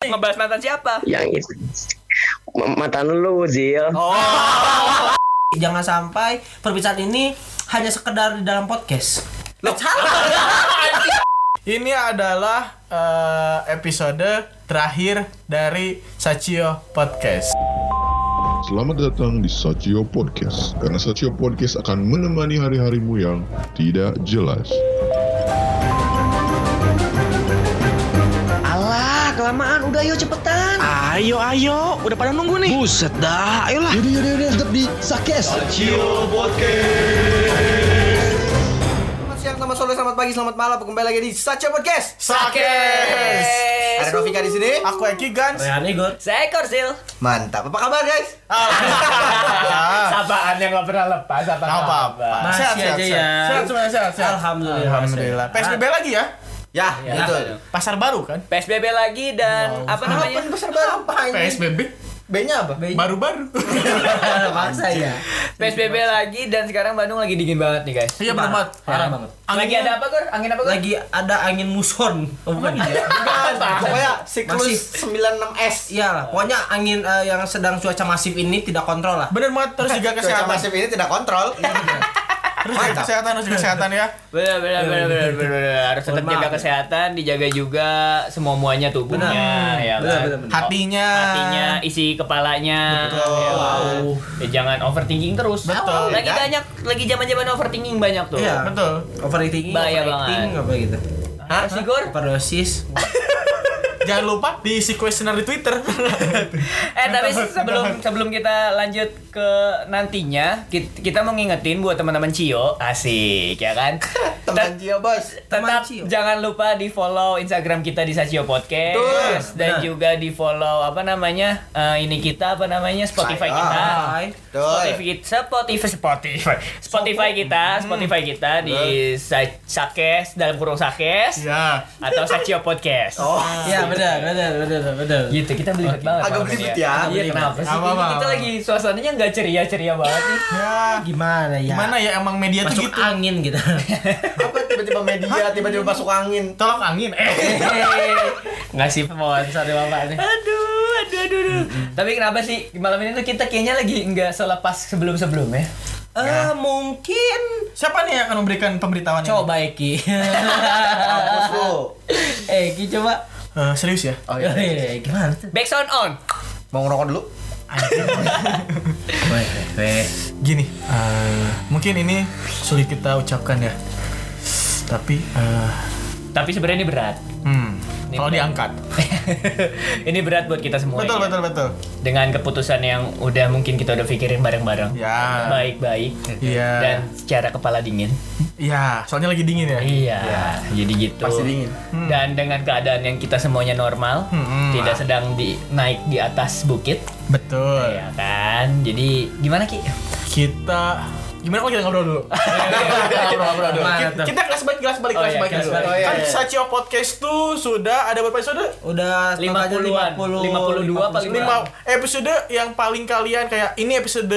Ngebahas mantan siapa? yang itu M- mantan lu Zil Oh. Jangan sampai perbincangan ini hanya sekedar di dalam podcast. Eh, Loh, salah. Ini adalah eh, episode terakhir dari Sachio Podcast. Selamat datang di Sachio Podcast, karena Sachio Podcast akan menemani hari-harimu yang tidak jelas. alah kelamaan udah yuk cepetan Ayo, ayo, udah pada nunggu nih. Buset dah, ayolah. Yaudah yaudah yaudah tetap di Sakes Selamat siang, selamat sore, selamat pagi, selamat malam. Kembali lagi di Sachio Podcast. Sakes. Ada Novika di sini. Aku Eki Gans. Rehan Igor. Seekor Zil. Mantap. Apa kabar, guys? Sapaan yang gak pernah lepas apa Ah. Gak apa-apa. Masih Ah, Sehat, aja sehat, ya. sehat. Sehat, semuanya, sehat, sehat. Alhamdulillah. Alhamdulillah. PSBB lagi ya? Ya, betul. Pasar baru kan? PSBB lagi dan apa namanya? baru apa ini? PSBB. B-nya apa? Iya. B-nya. Baru-baru. Maksa ya. PSBB lagi dan sekarang Bandung lagi dingin banget nih guys. Iya benar banget. Parah banget. Lagi ada apa Gor? Angin ya? apa Gor? Lagi ada angin muson. Oh, bukan ya. Iya. Pokoknya Masih. siklus 96S. Iyalah, Iya, pokoknya angin eh, yang sedang cuaca masif ini tidak kontrol lah. Bener banget. Iya, Terus juga kesehatan. Masif ini tidak kontrol. Iya, Terus juga kesehatan, harus juga kesehatan ya. Benar benar benar benar benar, benar. harus tetap Normal. jaga kesehatan, dijaga juga semua muanya tubuhnya ya Benar, kan? benar, benar. Hatinya. hatinya, isi kepalanya. Ya, kan? Ya, jangan overthinking terus. Betul, Lagi kan? banyak lagi zaman-zaman overthinking banyak tuh. Iya. Betul. Overthinking, Bahaya overacting, banget. apa gitu. Hah, sih Gor? Overdosis. Jangan lupa diisi kuesioner di Twitter. Eh tapi sebelum sebelum kita lanjut ke nantinya kit- kita, mau ngingetin buat teman-teman Cio asik ya kan Teman Cio bos. tetap Teman Cio. jangan lupa di follow Instagram kita di Sasio Podcast dan benar. juga di follow apa namanya eh, ini kita apa namanya Spotify Saya. Ah, kita Hai. Spotify kita Spotify Spotify Spotify kita Hmm. Spotify kita di Sa- Sakes dalam kurung Sakes Ya. atau Sasio Podcast Iya, benar, benar, benar, benar. gitu kita belibet banget Oh. malam Agak ini belibet ya. Iya kenapa sih? Apa, apa, kita apa. lagi suasananya nggak ceria ceria banget nih. Ya. Gimana ya? Gimana ya emang media tuh Masuk gitu. angin kita. Apa tiba-tiba media tiba-tiba masuk angin? Tolong angin. Eh. Ngasih sponsor ya bapak nih. Aduh, aduh, aduh, aduh. Tapi kenapa sih malam ini tuh kita kayaknya lagi nggak selepas sebelum sebelumnya? Eh, mungkin Siapa nih yang akan memberikan pemberitahuan ini? coba Eki. Ah, Eki coba. Eh, serius ya? Oh, iya, Gimana tuh? Back sound on. Mau ngerokok dulu? Weh, weh. Gini, eh, mungkin ini sulit kita ucapkan ya. Tapi eh, Tapi sebenarnya ini berat. hmm, Ini kalau berat. diangkat. ini berat buat kita semua. Betul, ya. betul, betul. Dengan keputusan yang udah mungkin kita udah pikirin bareng-bareng. Ya. Baik-baik. Iya. Dan secara kepala dingin. Iya, soalnya lagi dingin ya. Iya, jadi gitu. Pasti dingin. Dan dengan keadaan yang kita semuanya normal, Hmm. tidak sedang di naik di atas bukit, Betul. ya kan? Jadi gimana ki? Kita Gimana kalau kita ngobrol dulu? Iya, Ngobrol-ngobrol dulu. Mana Kita, tuh? kita kelas balik, kelas balik, Oh kelas iya, balik kelas dulu. balik. Oh iya, Kan iya. Sachio Podcast tuh sudah ada berapa episode? Udah Lima puluhan, lima puluh dua paling lima episode yang paling kalian kayak ini episode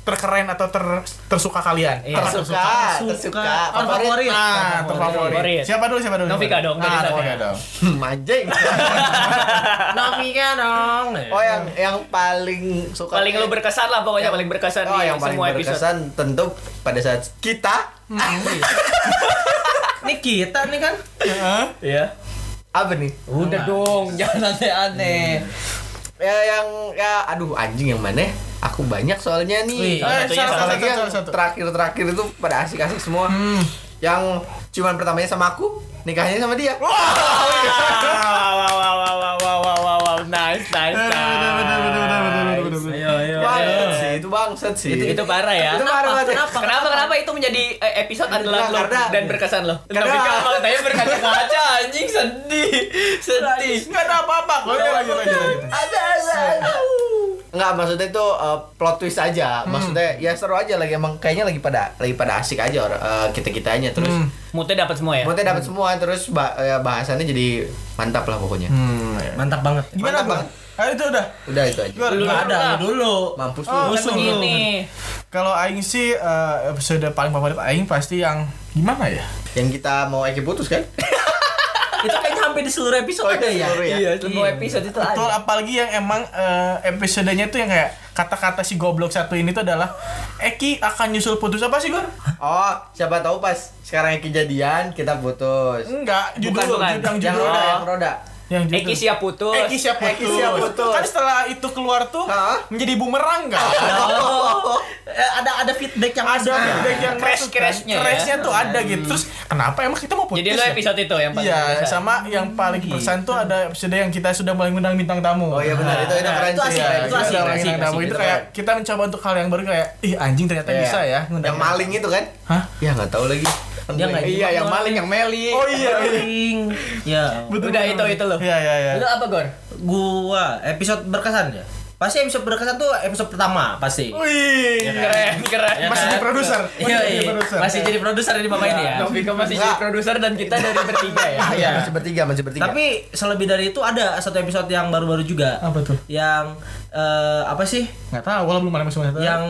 terkeren atau ter tersuka kalian Iya. tersuka Suka favorit. ah Favorit. terfavorit siapa dulu siapa dulu Novika dong, dari ah, Novika. Novika dong Anjing. Novika kan, dong. Oh yang yang paling suka Paling lu berkesan lah pokoknya paling berkesan Oh, di yang paling semua episode. berkesan Kan tentu pada saat kita Ini kita nih kan. Iya. apa nih? Udah dong, jangan aneh-aneh. Ya yang ya aduh anjing yang mana? ya? Aku banyak soalnya Wih. nih. eh Satunya, satu satu Apalagi yang satu, satu. terakhir-terakhir itu pada asik-asik semua. Yang cuman pertamanya sama aku, nikahnya sama dia. Wow, wow, wow, wow, wow, wow, wow, wow, nice, nice, nice. Ayo, ayo. Bangset sih, itu bangset sih. Itu, itu parah ya. Itu parah banget. Kenapa? Kenapa? Kenapa itu menjadi eh, episode andalan lo karena- dan berkesan lo? karena- Tapi kalau tanya berkaca-kaca anjing sedih, sedih. nggak ada apa-apa kok lanjut lanjut lanjut. ada ada ada Enggak, maksudnya itu uh, plot twist aja. Maksudnya ya seru aja lagi emang kayaknya lagi pada lagi pada asik aja orang kita-kitanya terus. Mute dapat semua ya. Maksudnya dapat semua terus ba- ya, bahasannya jadi mantap lah pokoknya. Hmm. Mantap banget. gimana Mantap bang banget. ah itu udah Ah, Udah itu aja. Gua- Lu Nggak ada dulu lu dulu. Mampus lu. Oh, Kan musuh. begini. kalau aing sih eh, episode paling favorit aing pasti yang gimana ya Yang kita mau Eki putus kan? Itu kayaknya hampir di seluruh episode Oh, ada ya. seluruh ya? Iya, Semua episode itu Betul, ada. apalagi yang emang eh, episodenya tuh yang kayak kata-kata si goblok satu ini tuh adalah Eki akan nyusul putus apa sih, Gor? Oh, siapa tahu pas sekarang yang kejadian kita putus. Enggak, judul, bukan. oh, judul, yang Yang judul roda, ada. yang roda. Yang judul. Eki siap putus. Eki siap putus. Eki siap putus. Kan setelah itu keluar tuh Hah? menjadi bumerang enggak? Eh, ada ada feedback yang ada feedback yang Crash- masuk, kan? crashnya ya. Crashnya tuh ada gitu. Terus kenapa emang kita mau putus? Jadi lo ya? episode itu yang paling Iya, berkesan. sama yang paling berkesan tuh ada episode yang kita sudah mulai ngundang bintang tamu. Oh iya benar, itu itu Nah, keren itu sih. asik, ya. itu asik, Kita asik, ngundang tamu itu kayak kita mencoba untuk hal yang baru kayak ih anjing ternyata Iya. bisa ya Yang ngundang maling itu kan? Hah? Ya nggak tahu lagi. Dia nggak Iya, gimana. yang maling, yang meli. Oh iya. iya. Ring. Ya. Udah itu itu lo. Iya iya iya. Lo apa Gor? Gua episode berkesan ya. Pasti episode berkesan tuh episode pertama pasti. Wih. Keren keren. kan? Masih di produser. Iya, Masih di iya. produser. Masih jadi produser ini Bapak ini ya. Novika masih jadi produser dan kita dari bertiga ya. Iya, masih bertiga, masih bertiga. Tapi selebih dari itu ada satu episode yang baru-baru juga. Apa tuh? Yang eh, apa sih? Enggak tahu kalau belum ada masih mana. Yang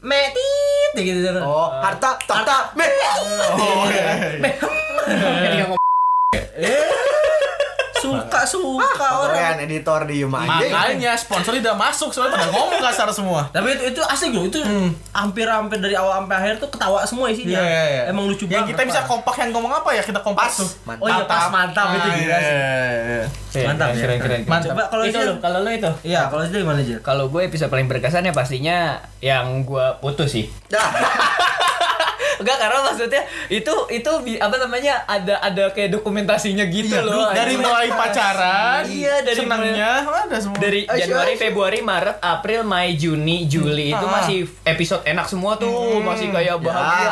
metit ya gitu. Oh, harta, tahta, me. Suka suka Ah, orang. Keren editor di Yuma. Makanya sponsor udah masuk soalnya pada ngomong kasar semua. Tapi itu itu asik loh, itu hampir-hampir dari awal sampai akhir tuh ketawa semua isinya. Iya, iya, iya. Emang lucu banget. Yang kita bisa kompak yang ngomong apa ya kita kompak Pas. tuh. Mantap. Oh iya pas mantap itu Ah, gila sih. iya, iya, iya. Mantap ya. Keren keren. keren. Coba kalau itu itu- lo, kalau lo itu. Iya, kalau itu gimana aja? Kalau gue episode paling berkesan ya pastinya yang gue putus sih. Enggak karena maksudnya itu itu bi- apa namanya ada ada kayak dokumentasinya gitu loh. Dari anjing. mulai pacaran, Iya, dari senangnya ada semua. Eh, dari Januari, Februari, Maret, April, Mei, Juni, Juli itu Ah. masih episode enak semua tuh, masih kayak bahagia.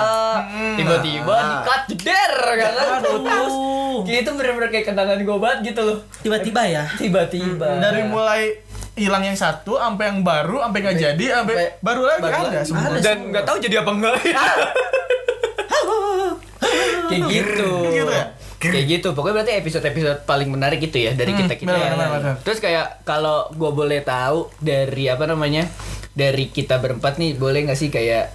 Tiba-tiba di cut jeder kan. Putus. Gitu bener-bener kayak kenangan gue banget gitu loh. Tiba-tiba ya. Tiba-tiba. dari mulai hilang yang satu sampai yang baru sampai nggak jadi sampai baru lagi ada semua. dan nggak tahu jadi apa enggak. kayak gitu. Gitu ya? Kayak gitu, pokoknya berarti episode-episode paling menarik itu ya dari kita kita. Hmm. benar, benar, benar. Terus kayak kalau gue boleh tahu dari apa namanya dari kita berempat nih boleh nggak sih kayak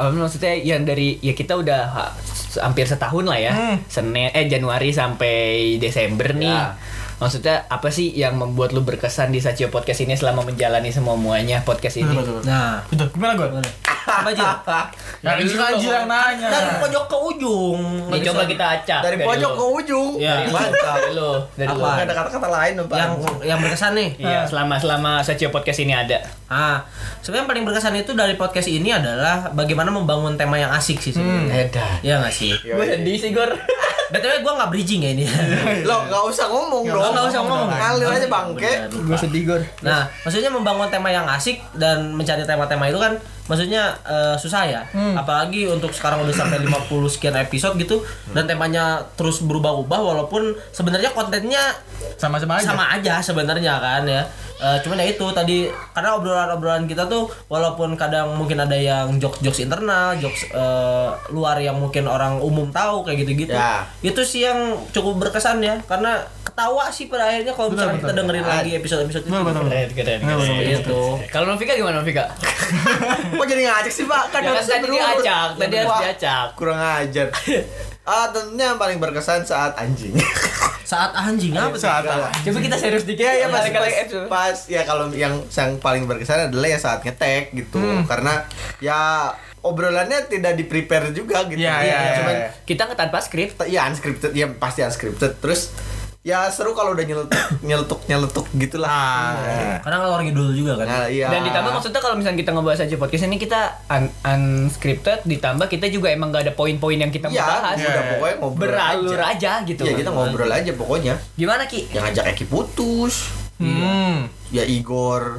em, maksudnya yang dari ya kita udah ha- s- hampir setahun lah ya Hmm. Senin eh Januari sampai Desember nih. Ya. Maksudnya apa sih yang membuat lu berkesan di Sacio Podcast ini selama menjalani semua muanya podcast ini? Nah, Betul. Gimana gue? apa aja? Nah, ini kan Jil yang nanya. Dari pojok ke ujung. Nih, coba kita acak Dari pojok lu. ke ujung. Iya. Mantap. Dari lu, dari lu. Apa? Nggak ada kata-kata lain dong, Pak. yang yang berkesan nih. Iya, selama selama Sacio Podcast ini ada. Ah, sebenarnya yang paling berkesan itu dari podcast ini adalah bagaimana membangun tema yang asik sih sebenarnya. edan. Iya nggak sih? Gue sedih sih, Gor. BTW gue nggak bridging ya ini. Lo nggak usah ngomong dong. nggak usah ngomong. Ngalir aja bangke. Gue sedih Nah, maksudnya membangun tema yang asik dan mencari tema-tema itu kan maksudnya eh, susah ya. Apalagi untuk sekarang udah sampai 50 sekian episode gitu dan temanya terus berubah-ubah walaupun sebenarnya kontennya Sama-sama aja. sama aja sebenarnya kan ya Eh, cuman ya itu tadi karena obrolan-obrolan kita tuh walaupun kadang mungkin ada yang jokes-jokes internal jokes eh, luar yang mungkin orang umum tahu kayak gitu-gitu Ya. itu sih yang cukup berkesan ya karena ketawa sih pada akhirnya kalau misalnya kita dengerin lagi episode-episode itu Keren, keren, Iya, keren. gitu Kalau Novika gimana Novika? Kok jadi ngajak sih, Pak? Kan Ya kan harusnya tadi berurut. diajak, tadi Iya, harus Pak. diajak. Kurang ajar. Ah, tentunya yang paling berkesan saat anjing. saat anjing apa tuh? Saat apa? Coba kita serius dikit ya, ya pas, Kali-kali pas, episode. pas ya kalau yang yang paling berkesan adalah ya saat ngetek gitu karena ya obrolannya tidak di prepare juga gitu Iya, iya, iya, cuman iya. Kita nggak tanpa skrip. ya unscripted ya pasti unscripted terus ya seru kalau udah nyeletuk nyeletuk nyeletuk gitulah Ah. karena ngeluar ngidul juga kan nah, iya. Dan ditambah maksudnya kalau misalnya kita ngebahas aja podcast ini kita un- unscripted ditambah kita juga emang gak ada poin-poin yang kita mau ya bahas. udah pokoknya ngobrol Beralur aja gitu. ya kita ngobrol aja pokoknya Gimana Ki? yang ngajak Eki putus Hmm. ya Igor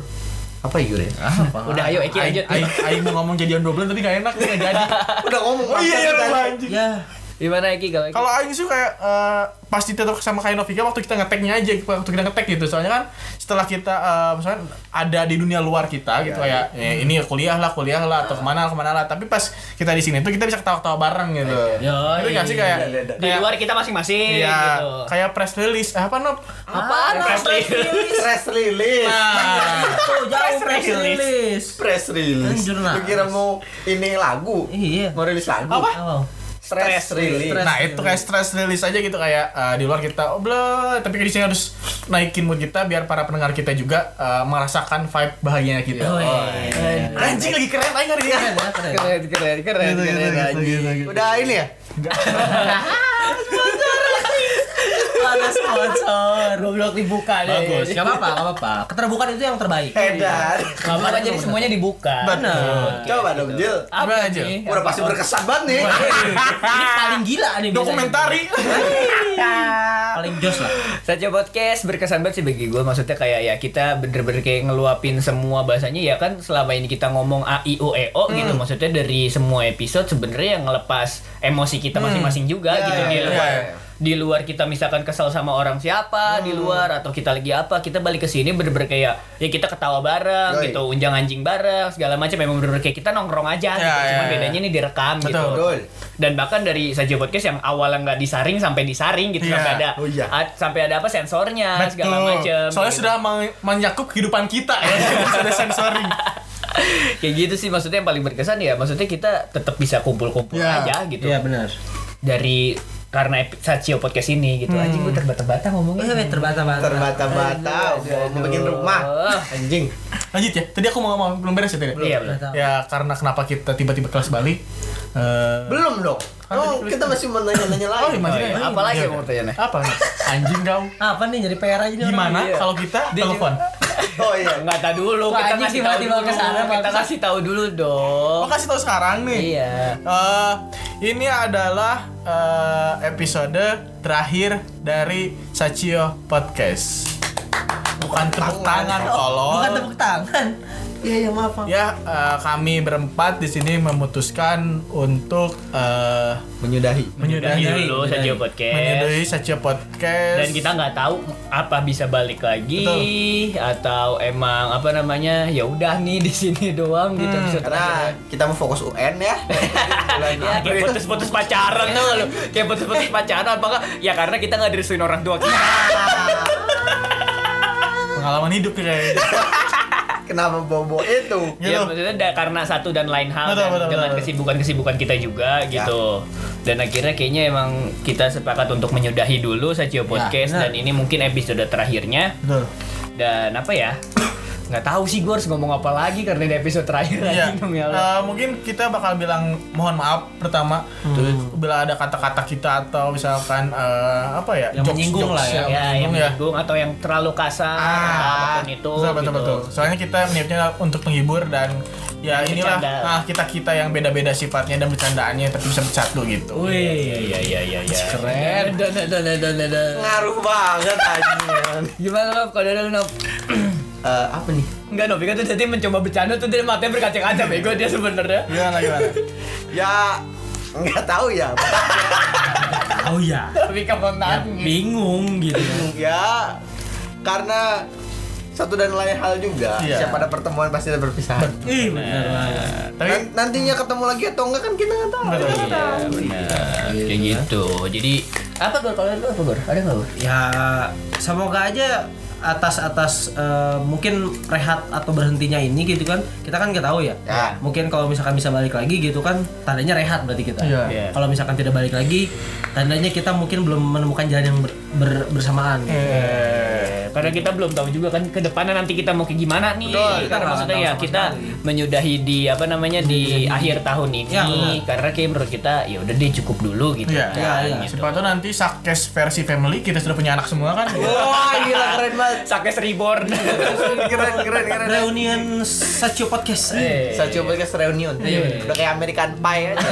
apa Igor ya Udah ayo Eki lanjut. Ah, Aing Aing mau ngomong jadian doblan tapi nggak enak nih nggak jadi. udah ngomong Oh iya iya bangsat, lu kan? anjing. ya Gimana Eki kalau Eki? Kalau Aing sih kayak eh, pasti tetap sama kayak Novika waktu kita ngeteknya aja waktu kita ngetek gitu. Soalnya kan setelah kita eh, misalkan ada di dunia luar kita gitu kayak "Eh, ini kuliah lah, kuliah lah atau kemana lah, kemana lah. Tapi pas kita di sini tuh kita bisa ketawa-ketawa bareng gitu. Yoi. Tapi nggak sih kayak Di luar kita masing-masing Iya, gitu. kayak press release Eh, apa Nov? Apaan? press release press release Ah. tuh jauh press release. release press Kan release jurnalis. lu kira mau ini lagu Iya. mau rilis lagu Apa? Oh. stress relief. Nah gitu. itu kayak stress release aja gitu kayak eh, di luar kita oh blah, tapi di sini harus naikin mood kita biar para pendengar kita juga eh, merasakan vibe bahagianya kita. Iya. Oh, iya. Anjing lagi keren aja hari Iya, ini. Keren, keren, keren, Gitu, keren, anjing. gitu, Udah ini ya? Ada sponsor. Goblok dibuka deh. Eh, Bagus. Gak apa-apa, gak apa-apa. Keterbukaan itu yang terbaik. Edan. Kenapa jadi semuanya dibuka? Benar. Coba dong, Jil. Apa aja? Udah pasti berkesan banget nih. Ini paling gila nih biasanya. Dokumentari. Iya, Ya. Paling jos lah. Saja podcast berkesan banget sih bagi gue Maksudnya kayak ya kita bener-bener kayak ngeluapin semua bahasanya Ya kan selama ini kita ngomong A, I, O, E, Hmm. O gitu Maksudnya dari semua episode sebenarnya yang ngelepas emosi kita Hmm. masing-masing juga Ya, gitu Di luar, di luar kita misalkan kesel sama orang Hmm. siapa Di luar atau kita lagi apa Kita balik ke sini bener-bener kayak Ya kita ketawa bareng gitu Unjang anjing bareng segala macam Memang bener-bener kayak kita nongkrong aja gitu Ya, Cuma ya, ya. bedanya ini direkam gitu Betul. dan bahkan dari saja podcast yang awalnya nggak disaring sampai disaring gitu Iya. sampai ada Oh, iya. a- sampai ada apa sensornya segala Betul. macem Soalnya gitu. sudah men- menyakup kehidupan kita ya. sudah sensoring. kayak gitu sih maksudnya yang paling berkesan ya maksudnya kita tetap bisa kumpul-kumpul Iya. aja gitu Iya benar. dari karena epi- Sacio podcast ini gitu anjing gue terbata-bata ngomongnya Iya, terbata-bata. Terbata-bata, mau bikin rumah. Anjing. Lanjut ya. Tadi aku mau ngomong belum beres ya tadi. Iya, belum. Ya karena kenapa kita tiba-tiba kelas Bali? Eh, Belum dong. Oh, kita masih mau nanya-nanya Oh, lagi. imajinasi. iya. Apa lagi yang mau tanya, Nek? Apa? Anjing kau. Apa nih jadi PR aja nih orang. Gimana Iya. kalau kita Dia telepon? Oh iya. nggak tahu dulu Wah, kita anjing ngasih tahu tiba-tiba dulu kesana, kita bangsat. kasih tahu dulu dong Gua kasih tahu sekarang nih. Oh. iya Eh, ini adalah eh, episode terakhir dari Sachio Podcast. Bukan tepuk tangan, tolong. Bukan tepuk tangan. Iya, iya maaf. maaf. Ya, eh, kami berempat di sini memutuskan untuk eh, Menyudahi. menyudahi Menyudahi dulu Sacio podcast menyudahi Sachio Podcast. dan kita nggak tahu apa bisa balik lagi atau emang apa namanya ya udah nih di sini doang gitu bisa Karena kita mau fokus UN ya. Ya, Iya. kayak putus-putus pacaran tuh lo kayak putus-putus pacaran apakah ya karena kita nggak direstuin orang tua Iya. kita pengalaman hidup ya. nih kayaknya. Kenapa bobo itu? Gitu. ya maksudnya da- karena satu dan lain hal Betul, dan betul, dengan betul. Ya. kesibukan-kesibukan kita juga gitu dan akhirnya kayaknya emang kita sepakat untuk menyudahi dulu Ya, Sacio podcast dan ini mungkin episode terakhirnya Betul. dan apa ya nggak tahu sih gue harus ngomong apa lagi karena ini episode terakhir anjing, Iya. demi ya, Allah. Eh, mungkin kita bakal bilang mohon maaf pertama Terus bila ada kata-kata kita atau misalkan eh, apa ya? Yang menyinggung lah ya. yang ya yang menyinggung ya. menyinggung atau yang terlalu kasar Ah, atau apapun itu betul, betul, gitu. betul. Soalnya kita niatnya untuk menghibur dan ya Dan inilah bercanda. ah, kita kita yang beda-beda sifatnya dan bercandaannya tapi bisa bersatu gitu. Wih, ya ya ya ya ya. Keren. Dan dan dan dan. Ngaruh banget anjing. Gimana Nob? Kalau ada Nob? Eh, apa nih? Enggak Nob, kan tuh tadi mencoba bercanda tuh dia matanya berkaca-kaca bego dia sebenarnya. Gimana gimana? Ya nggak tahu ya. Oh ya. Tapi kemenangan. Bingung gitu. ya karena satu dan lain hal juga. Iya. Siapa ada pertemuan pasti ada perpisahan. Ih, benar banget. tapi Nan- nantinya ketemu lagi atau enggak kan kita nggak tahu. Kita nggak tahu. Benar. Kayak gitu. Jadi apa gor kalau lu apa gor? Ada enggak gor? Ya, semoga aja atas atas eh, mungkin rehat atau berhentinya ini gitu kan kita kan nggak tahu ya Ya. mungkin kalau misalkan bisa balik lagi gitu kan tandanya rehat berarti kita Iya. kalau misalkan tidak balik lagi tandanya kita mungkin belum menemukan jalan yang ber- ber- bersamaan Karena kita belum tahu juga kan ke depannya nanti kita mau kayak gimana nih. kita karena nggak maksudnya tahu ya sama kita sekali. menyudahi di apa namanya di akhir tahun ini Ya, benar. karena kayak menurut kita ya udah deh cukup dulu gitu. Iya, kan, iya, iya. gitu. siapa tahu nanti sakes versi family kita sudah punya anak semua kan. Wah gila keren banget. Sakes reborn. Keren keren keren. reunion Sacio Podcast Eh. Saya coba ke reunion. Udah kayak American Pie aja.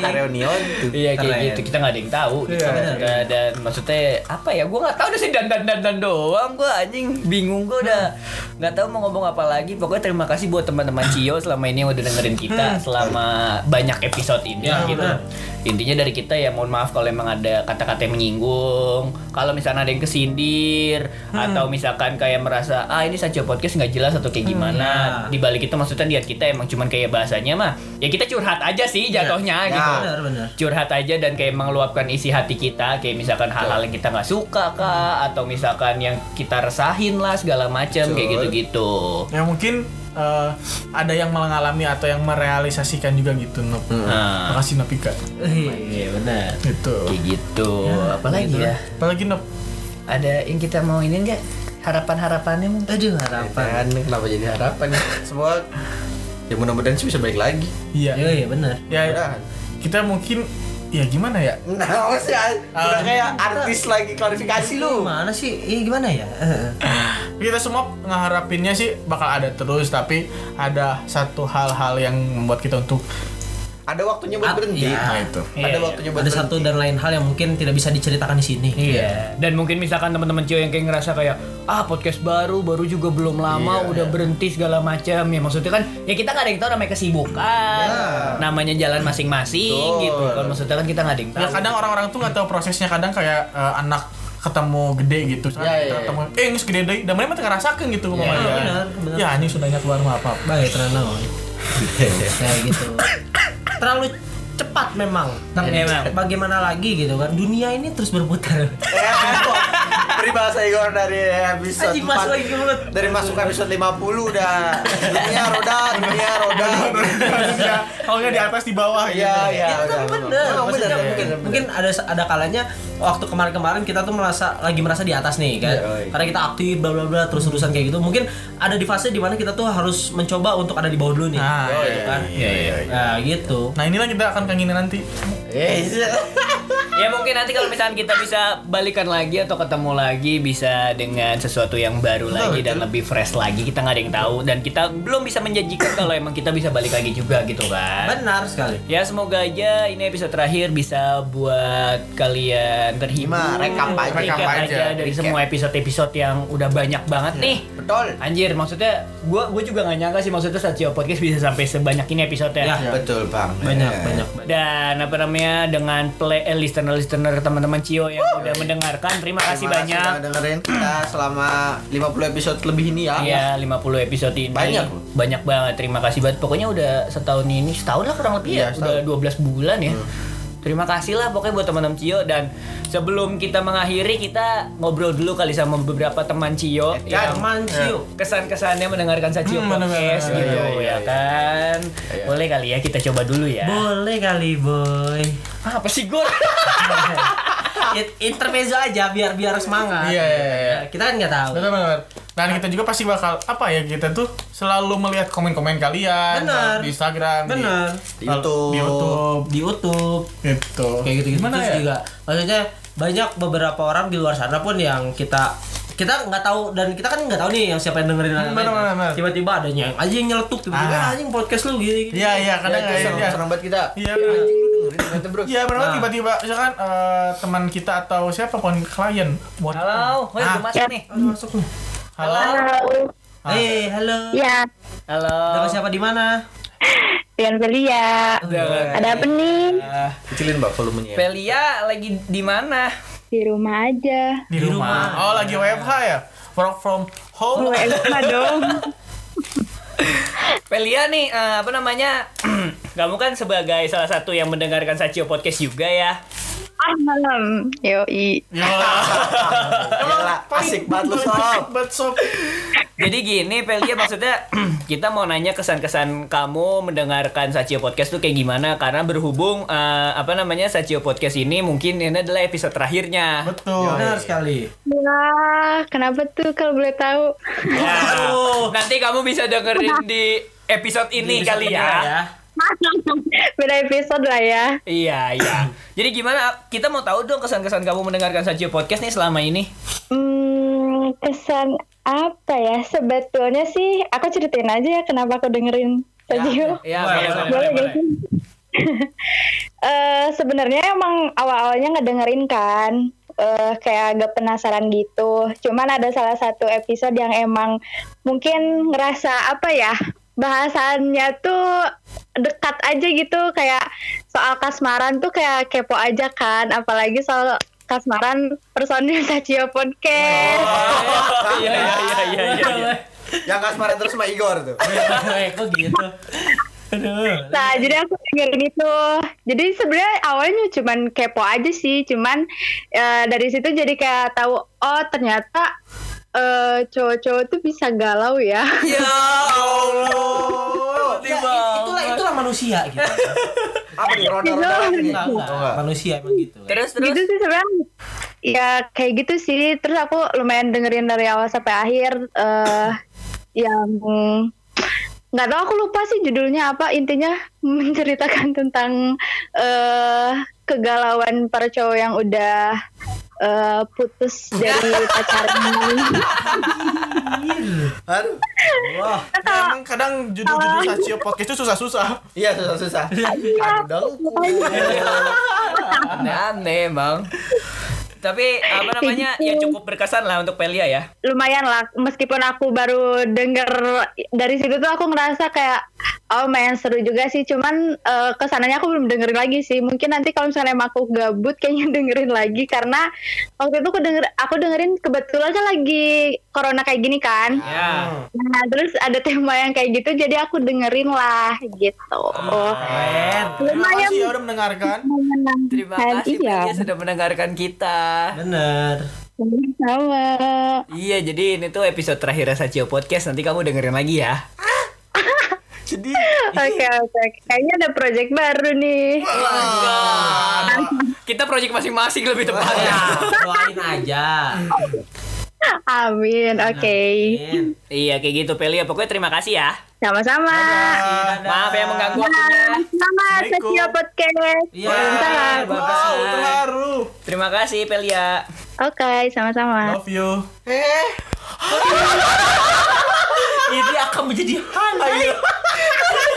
Iya. reunion. tuh. Iya kayak Keren. Iya. gitu kita nggak ada yang tahu gitu. Dan, dan maksudnya apa ya? Gue nggak tahu udah sih dan dan dan dan doang. Gue anjing bingung gue udah nggak tahu mau ngomong apa lagi. Pokoknya terima kasih buat teman-teman Cio selama ini yang udah dengerin kita selama banyak episode ini Ya, gitu. Hmm. benar. Intinya dari kita ya mohon maaf kalau emang ada kata-kata yang menyinggung, kalau misalnya ada yang kesindir Hmm. atau misalkan kayak merasa ah ini Sancho podcast nggak jelas atau kayak gimana. ya. Di balik itu maksudnya niat kita emang cuman kayak bahasanya mah ya kita curhat aja sih jatuhnya Iya. Ya. gitu benar benar curhat aja dan kayak mengeluapkan isi hati kita kayak misalkan hal-hal yang kita nggak suka kah atau misalkan yang kita resahin lah segala macam kayak gitu-gitu. Ya mungkin eh, ada yang malah ngalami atau yang merealisasikan juga gitu, Nop. Nah. Makasih Nopika. Iya benar. Gitu. Kayak gitu. Apalagi ya? Apalagi Nop. Ada yang kita mau ini enggak? Harapan-harapannya mungkin. Aduh Iya, harapan. Kenapa jadi harapan ya? Semua ya mudah-mudahan sih bisa balik lagi. Iya. Iya iya benar. Ya, kita mungkin ya gimana ya? Nah, sih udah kayak artis lagi klarifikasi lu. Gimana sih? Ah, Iya gimana ya? Eh, Kita semua ngeharapinnya sih bakal ada terus, tapi ada satu hal-hal yang membuat kita untuk Ada waktunya buat At- berhenti. iya. nah itu. Ada waktunya buat Ada satu berhenti. dan lain hal yang mungkin tidak bisa diceritakan di sini. Iya. Dan mungkin misalkan teman-teman Cio yang kayak ngerasa kayak ah podcast baru baru juga belum lama udah berhenti segala macam ya maksudnya kan ya kita nggak ada yang tahu namanya kesibukan namanya jalan masing-masing gitu kan maksudnya kan kita nggak ada yang tahu. Ya kadang orang-orang tuh nggak tahu prosesnya, kadang kayak eh, anak ketemu gede gitu, misalnya Iya, kita iya, ketemu, eh nggak segede deh, dan mereka tuh ngerasakan gitu ngomongnya. Ah, benar, benar. Ya ini sudahnya keluar mah apa. Baik tenang dong. Iya, Kayak gitu. Terlalu cepat memang. Tapi Emang. bagaimana lagi gitu kan? Dunia ini terus berputar. Eh, kok. Peribahasa Igor dari episode Anjing, masuk lagi ke mulut. Dari masuk episode 50 udah dunia roda, dunia roda. Kalau nggak di atas di bawah Iya, gitu. iya. Ya, udah. tapi bener. Emang Maksudnya bener, mungkin, bener, mungkin ada ada kalanya waktu kemarin-kemarin kita tuh merasa lagi merasa di atas nih kan. Iya, Karena kita aktif bla bla bla terus terusan kayak gitu. Mungkin ada di fase dimana kita tuh harus mencoba untuk ada di bawah dulu nih. Nah, Oh, Gitu iya. kan. Iya, Nah, gitu. Nah inilah kita akan kangenin nanti. Eh, Iya. Ya mungkin nanti kalau misalkan kita bisa balikan lagi atau ketemu lagi bisa dengan sesuatu yang baru lagi dan lebih fresh lagi kita nggak ada yang tahu dan kita belum bisa menjanjikan kalau emang kita bisa balik lagi juga gitu kan. Benar sekali. Ya semoga aja ini episode terakhir bisa buat kalian terhibur. Gimana? Rekap aja. Recap Rekap aja, aja. dari semua episode-episode yang udah banyak banget nih. Betul. Anjir, maksudnya gue gue juga nggak nyangka sih maksudnya Satrio Podcast bisa sampai sebanyak ini episode Ya, Betul, Bang. banyak Eh. banyak. dan apa namanya dengan play eh, listener listener teman-teman Cio yang udah mendengarkan terima kasih Terima kasih banyak udah dengerin kita selama 50 episode lebih ini ya. Iya, 50 episode ini Banyak loh. banyak banget. Terima kasih banget. Pokoknya udah setahun ini, setahun lah kurang lebih ya, Iya, udah 12 bulan ya. Terima kasih lah pokoknya buat teman-teman Cio dan sebelum kita mengakhiri kita ngobrol dulu kali sama beberapa teman Cio Kan, yang Teman Cio. kesan-kesannya mendengarkan Sacio Hmm, podcast gitu benar-benar. Iya, iya, ya iya. kan. Boleh kali ya kita coba dulu ya. Boleh kali, boy. Ah, apa sih gue? It- Intermezzo aja biar biar semangat. Iya, iya, iya. Nah, Kita kan nggak tahu. Benar benar. Dan kita juga pasti bakal apa ya kita tuh selalu melihat komen-komen kalian Benar. di Instagram, Benar. di, Di YouTube. di YouTube Di YouTube gitu. kayak gitu gitu Gimana terus ya? juga maksudnya banyak beberapa orang di luar sana pun yang kita kita nggak tahu dan kita kan nggak tahu nih yang siapa yang dengerin dan Hmm, lain-lain. benar, benar, benar. tiba-tiba adanya yang aja yang nyeletuk tiba-tiba Ah. "Ah, anjing podcast lu gini gini Iya iya kadang Itu kayak seneng, ya. seneng banget kita. Iya. Anjing lu dengerin ternyata, Bro. Iya benar tiba-tiba misalkan eh, teman kita atau siapa pun klien buat Halo, woi udah masuk nih. masuk lu Oh, halo Halo. eh halo Ya, Halo. Nama siapa di mana Rian Belia. Ada apa nih? Kecilin, Mbak, volumenya. Pelia lagi di mana? Di rumah aja. di rumah. Oh lagi WFH ya? Work from home. Gue enak dong. Pelia nih, eh, apa namanya? Kamu kan sebagai salah satu yang mendengarkan Sacio Podcast juga ya. Ah malam. Yoi. Gila, asik banget lu, Sob. But so Jadi gini, Pelia maksudnya kita mau nanya kesan-kesan kamu mendengarkan Sacio Podcast tuh kayak gimana? Karena berhubung eh, apa namanya Sacio Podcast ini mungkin ini adalah episode terakhirnya. betul. benar sekali Wah, Ya, kenapa tuh kalau boleh tahu? Ya. Nanti kamu bisa dengerin di episode ini Bisa kali kedengeran ya. Beda episode lah ya. Iya, iya. Jadi gimana? Kita mau tahu dong kesan-kesan kamu mendengarkan Sacio Podcast nih selama ini. Hmm, kesan apa ya? Sebetulnya sih aku ceritain aja ya kenapa aku dengerin Sajiu. Iya, Boleh, boleh, boleh, boleh, boleh, boleh. boleh. Eh, sebenarnya emang awal-awalnya ngedengerin kan eh kayak agak penasaran gitu. Cuman ada salah satu episode yang emang mungkin ngerasa apa ya bahasannya tuh dekat aja gitu kayak soal kasmaran tuh kayak kepo aja kan apalagi soal kasmaran personil Sacio Podcast. Iya, iya, iya, iya, iya, iya. Yang kasmaran terus sama Igor tuh. Eh, kok gitu aduh Nah, jadi aku dengerin itu. Jadi sebenarnya awalnya cuman kepo aja sih, cuman eh, dari situ jadi kayak tahu oh ternyata eh, cowok-cowok tuh bisa galau ya. Allah. Ya, it- itulah itulah manusia gitu. Apa nih ronda-ronda Gitu. lagi nih? Enggak, Manusia emang gitu. Terus Gitu sih sebenarnya. Ya kayak gitu sih. Terus aku lumayan dengerin dari awal sampai akhir eh yang nggak tahu aku lupa sih judulnya apa intinya menceritakan tentang eh kegalauan para cowok yang udah eh, putus dari pacarnya. Aduh. Wah, ini emang kadang judul-judul Sacio podcast itu susah-susah. Iya susah-susah. Aneh emang. Tapi apa namanya ya cukup berkesan lah untuk Pelia ya. lumayan lah meskipun aku baru denger dari situ tuh aku ngerasa kayak oh lumayan seru juga sih cuman eh, kesananya aku belum dengerin lagi sih mungkin nanti kalau misalnya emang aku gabut kayaknya dengerin lagi karena waktu itu aku denger aku dengerin kebetulan aja lagi corona kayak gini kan Ya. nah terus ada tema yang kayak gitu jadi aku dengerin lah gitu Ah, Terima lumayan kasih ya udah mendengarkan. menyenangkan Terima kasih iya Pelia sudah mendengarkan kita. Bener. sama Iya, jadi ini tuh episode terakhir Sacio Podcast. Nanti kamu dengerin lagi ya. Iya. oke oke kayaknya ada project baru nih Kita project masing-masing lebih tepatnya. Ya, Doain aja. Amin, oke. Amin. iya, kayak gitu Pelia. Pokoknya terima kasih ya. Sama-sama. Maaf ya mengganggu waktunya. Selamat setia podcast. Iya. Waalaikumsalam. Wow, terharu. Terima kasih Pelia. Oke, sama-sama. Love you. Ini akan menjadi highlight.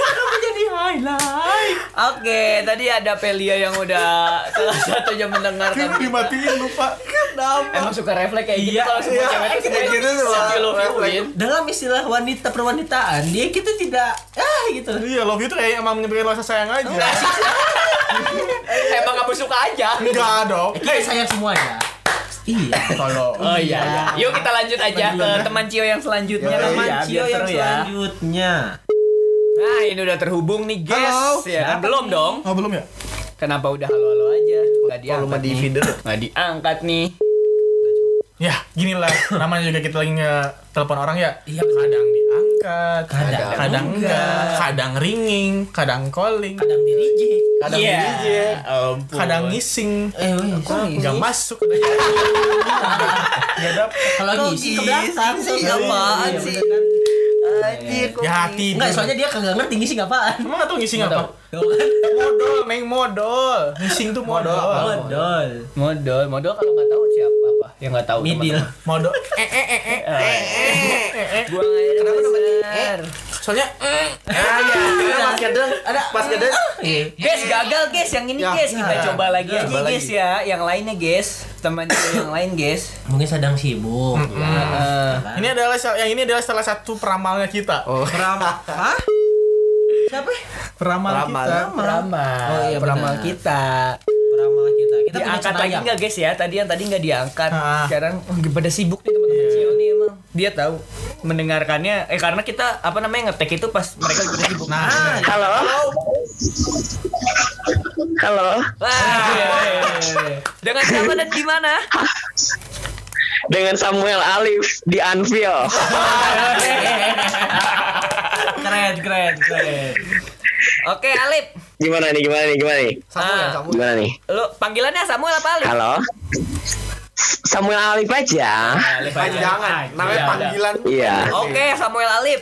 akan menjadi highlight. Oke, tadi ada Pelia yang udah salah satunya mendengarkan. Dimatiin lupa. Emang suka refleks kayak gitu kalau semua cewek tuh kayak gitu Iya, Dalam istilah wanita perwanitaan, dia kita tidak ah gitu. Iya, love you tuh kayak emang nyebarin rasa sayang aja. Emang kamu suka aja. Enggak dong. Kita sayang semuanya. Iya. Kalau Oh iya. Yuk kita lanjut aja ke teman Cio yang selanjutnya. Teman Iya, Cio biar yang seru ya. selanjutnya. Nah, ini udah terhubung nih, guys. Ya kan? belum dong. Oh, belum ya? Kenapa udah halo-halo aja? Enggak diangkat. di nih. feeder. Nggak diangkat nih. Ya, gini lah. Namanya juga kita lagi nge-telepon orang ya. Iya, Kadang diangkat, Kadang kadang enggak, kadang ringing, kadang iya. calling, kadang di reject. Kadang yeah. Ampun. kadang ngising. Eh, weh, Enggak masuk. Ya, Enggak dapet. kalau ngisi ke belakang sih, Iya, apaan iya, sih? bener kan? Ya hati. Enggak, soalnya dia kagak ngerti ngisi apaan. Emang nggak tahu ngising apa? Tuh kan. Modal, main modal. Ngising tuh modal. Modal. Modal, modal kalau nggak tahu siapa apa yang nggak tahu. Midil. Modal. Eh, Gua nggak benar. soalnya eh, Pas kadang ada pas kadang Ah. Iya. Guys gagal guys yang Ya. ini guys kita coba lagi aja guys ya yang lainnya guys teman Cio yang lain guys. Eh, Mungkin sedang sibuk. ya kan? Heeh. ini adalah sa- yang ini adalah salah satu peramalnya kita. Oh, Hah? Siapa? peramal, kita. Peramal, Oh, iya, peramal benar. kita. Peramal kita. Kita punya diangkat lagi cenayang. nggak guys ya? Tadi yang tadi nggak diangkat. Ah. Sekarang oh, pada sibuk nih Iya. teman-teman Cio nih emang. Dia tahu mendengarkannya. Eh karena kita apa namanya ngetek itu pas mereka lagi pada sibuk. Nah. iya. Halo. Halo. Iya, Dengan siapa dan di mana? Dengan Samuel Alif di Anfield. Keren, keren, keren. Oke Alip, Gimana nih, gimana nih, gimana nih? Ah. Samuel, Samuel. Gimana nih? lu panggilannya Samuel apa Alip? Halo? Samuel Alif aja. Alip Panjangan, namanya panggilan. Iya. Oke Samuel Alip,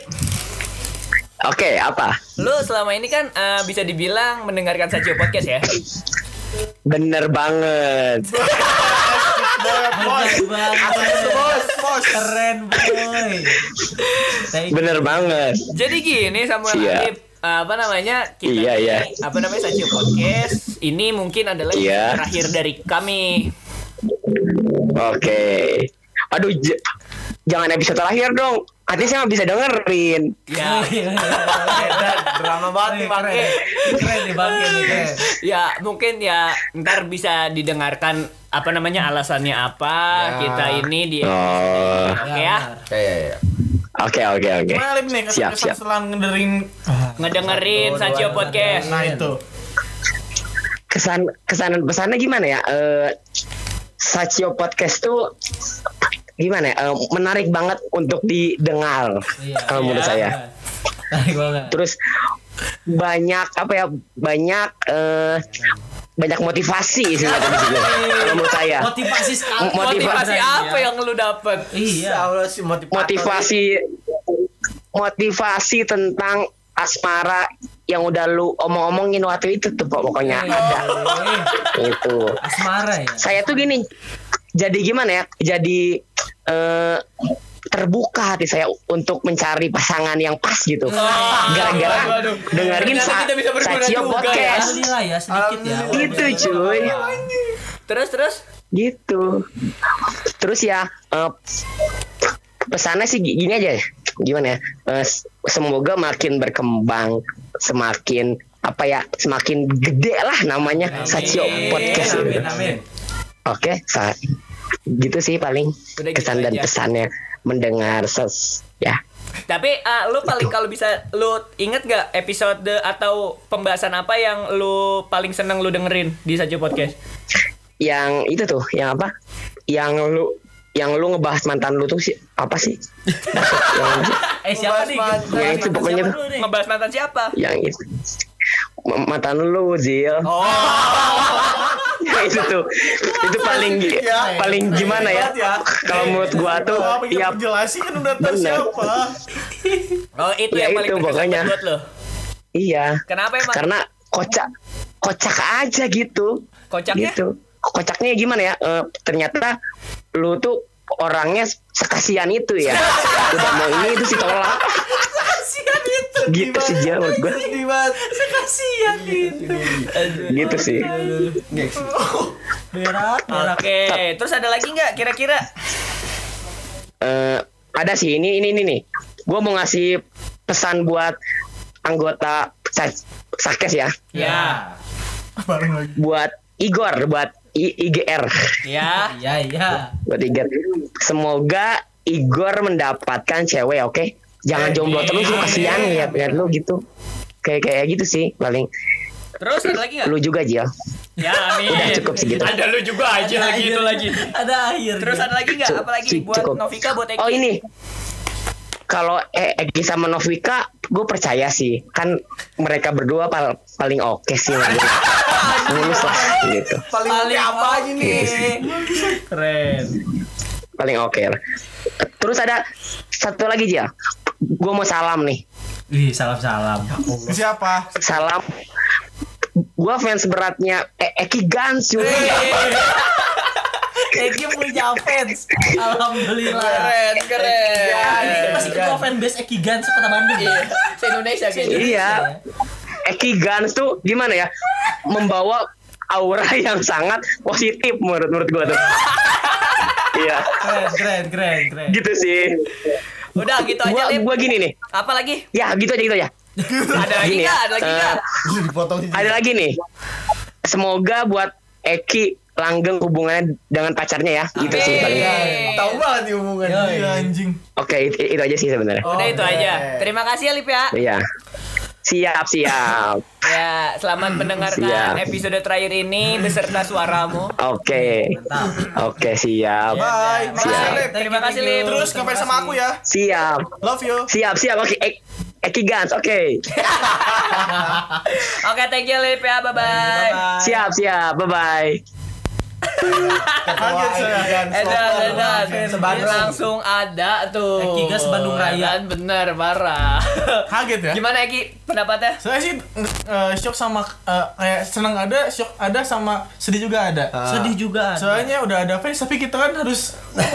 Oke, apa? lu selama ini kan eh, bisa dibilang mendengarkan Sajio Podcast ya? Bener banget. Bos, bos, bos. Keren, boy. Thank you. Bener banget. Jadi gini Samuel Iya. Alip, apa namanya kita Iya, ini, iya. apa namanya Sajio Podcast ini mungkin adalah yang Iya. terakhir dari kami. Oke. Aduh, j- jangan episode terakhir dong. Katanya saya nggak bisa dengerin. Ya, Drama banget nih, Bang. Keren, keren nih bang ini keren. ya mungkin ya ntar bisa didengarkan apa namanya alasannya apa kita ini di Oh. Oke Ya, ya. benar. Oke, oke, oke. Gimana Lip nih? Siap, Kesan-kesan siap. setelah ngedengerin Ngedengerin Sacio Podcast. nah itu. kesan kesan dan pesannya gimana ya? Eh Sacio podcast tuh gimana ya, eh, menarik banget untuk didengar kalau menurut iya. saya. Menarik banget. Terus banyak apa ya banyak eh, banyak motivasi sih kata di situ, kalau menurut saya. Motivasi sekali. Motiva- Motivasi apa ya? yang lu dapet? Iya. Allah si motivator. motivasi motivasi tentang asmara yang udah lu omong-omongin waktu itu tuh Pak, pokoknya Iya. Gitu. ada itu Eh, Asmara ya. saya tuh gini jadi gimana ya jadi eh, terbuka hati saya untuk mencari pasangan yang pas gitu gara-gara aduh, aduh. dengerin Ternyata sa kita bisa berguna Sacio juga, podcast Alhamdulillah ya sedikit ya. gitu cuy Terus terus gitu terus ya eh, pesannya sih gi- gini aja gimana ya eh, s- semoga makin berkembang semakin apa ya semakin gede lah namanya Sacio podcast gitu. Amin amin. oke sa- gitu sih paling Udah gitu kesan dan aja. pesannya mendengar ses ya Tapi ah, lu paling kalau bisa lu inget gak episode atau pembahasan apa yang lu paling seneng lu dengerin di Sajo Podcast? yang itu tuh yang apa yang lu yang lu ngebahas mantan lu tuh si, apa sih Eh siapa nih? Ya, itu pokoknya tuh. Siapa dulu nih? Ngebahas mantan siapa? yang itu M- mantan lu Zil Ya, itu tuh itu paling gi- paling gimana ya kalau menurut gua tuh ya Iya, jelasin kan udah tahu Bener. siapa. Oh itu Ya, yang paling itu berkesan pokoknya. buat lu. iya Kenapa emang? karena kocak kocak aja gitu Kocaknya? gitu kocaknya gimana ya Eh, ternyata lu tuh orangnya sekasian itu ya udah mau ini itu sih tolak Kasihan itu. gitu sih Zil menurut gua Sedih banget. Sekasihan itu. gitu sih Berat berat. Oke, terus ada lagi nggak kira-kira? eh ada sih ini ini ini nih. Gue mau ngasih pesan buat anggota Sa- Sakes ya, Ya, Bareng lagi. buat Igor, buat I- IGR, ya. Iya iya. buat IGR. Semoga Igor mendapatkan cewek, oke? Jangan jomblo terus lu kasihan ya, lihat lu gitu. Kayak kayak gitu sih paling. Terus ada lagi nggak? Lu juga Jil. Ya, amin. Udah cukup segitu. Ada lu juga Iya, aja lagi itu lagi. Ada akhir. Terus ada lagi nggak? Cu- Iya, Apalagi cu- buat cukup. Novika, buat Eki? Oh ini. Kalau E- Egi sama Novika, gue percaya sih. Kan mereka berdua pal- paling oke sih. Mulus lah gitu. Paling, Paling apa aja nih? keren. paling oke lah. Terus ada satu lagi Jil. Gue mau salam nih. Ih salam salam. Siapa? Salam. Gue fans beratnya E- Eki Gans cuy. Egi punya fans. Alhamdulillah. Keren, Iya, keren. Ini masih ketua fanbase Eki Gans kota Bandung. Iya. Se-Indonesia gitu. Iya. Eki Gans tuh gimana ya? Membawa aura yang sangat positif menurut menurut gue tuh. Iya, Keren keren keren keren. gitu sih. Udah gitu aja, Gua Lim. gua gini nih. Apa lagi? Ya, gitu aja gitu aja. Ada lagi Gini ya, nggak? Ada lagi nggak? Dipotong Ada lagi nih. Semoga buat Eki langgeng hubungannya dengan pacarnya ya. Gitu sih Amin. paling. Tahu banget nih hubungan Iya anjing. Oke, itu, itu aja sih sebenarnya. Udah itu aja. Terima kasih Alip ya. Iya. Siap, siap. Ya, selamat mendengarkan Hmm, Siap. episode terakhir ini beserta suaramu. Oke. Oke, Iya. siap. Bye. Makasih Siap. Lip. Ya, Terima kasih Lim. Terus ngefans sama aku ya. Siap. Love Iya, you. Siap, siap. Oke, Ek- Eki Gans. Oke. Oke, thank you Alip ya. Bye-bye. Siap, siap. Bye-bye. iya. Kaget saya. Edan, Edan, Sebandung. langsung ada tuh. Eki Gas Bandung Raya. Kan bener parah. Kaget ya. Gimana Eki pendapatnya? Saya sih eh, shock sama eh, kayak senang ada, shock ada sama sedih juga ada. Ah. Sedih juga. ada. Soalnya udah ada fans tapi kita kan harus Ya,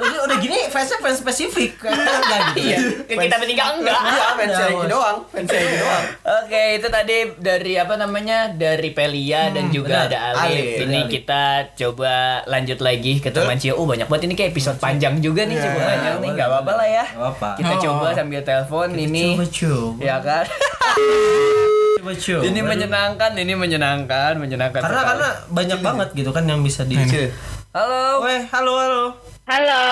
udah, udah gini fansnya fans spesifik kan enggak gitu. Iya. Yang kita bertiga enggak. fans Ada, Egi bos. doang, fans gitu, Egi doang. Iya. Oke, itu tadi dari apa namanya? Dari Pelia dan juga Hmm, benar. ada Alif. Alif, ini Alif. kita coba lanjut lagi ke teman Cio. Oh, banyak banget ini kayak Iya. episode panjang juga nih, coba panjang nih. Enggak apa-apa lah ya. Enggak apa-apa. Kita coba sambil telepon ini. Coba coba. Ya kan? Coba coba. ini menyenangkan, ini menyenangkan, menyenangkan. Karena sekali. karena banyak banget gitu kan yang bisa di. Halo. Weh, halo halo. Halo,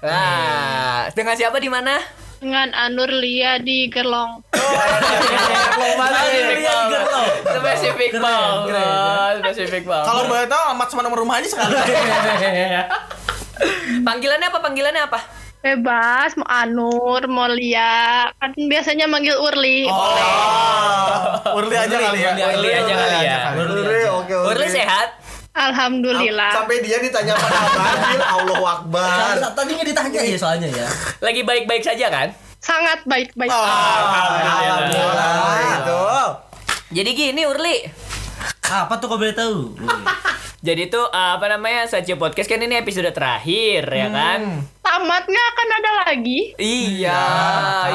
Nah, dengan siapa di mana? dengan Anur Lia di Gerlong. Nah, Spesifik Lihat banget. gitu. Spesifik Keren, banget. keren, Spesifik banget. kalau boleh tahu amat sama nomor rumah aja sekali. Panggilannya apa? Panggilannya apa? Bebas, mau Anur, mau Lia. Kan biasanya manggil Urli. Oh. Urli aja kali ya. Urli aja kali ya. Urli, oke. Urli sehat? Alhamdulillah. Sampai dia ditanya apa kabar, Allah Akbar. Tadi nggak ditanya ya soalnya ya. Lagi baik-baik saja kan? Sangat baik-baik. Oh. Alhamdulillah. Itu. Jadi gini Urli. Apa tuh kau boleh tahu? Jadi tuh uh, apa namanya Saja Podcast kan ini episode terakhir ya kan? Tamat nggak akan ada lagi. Iya,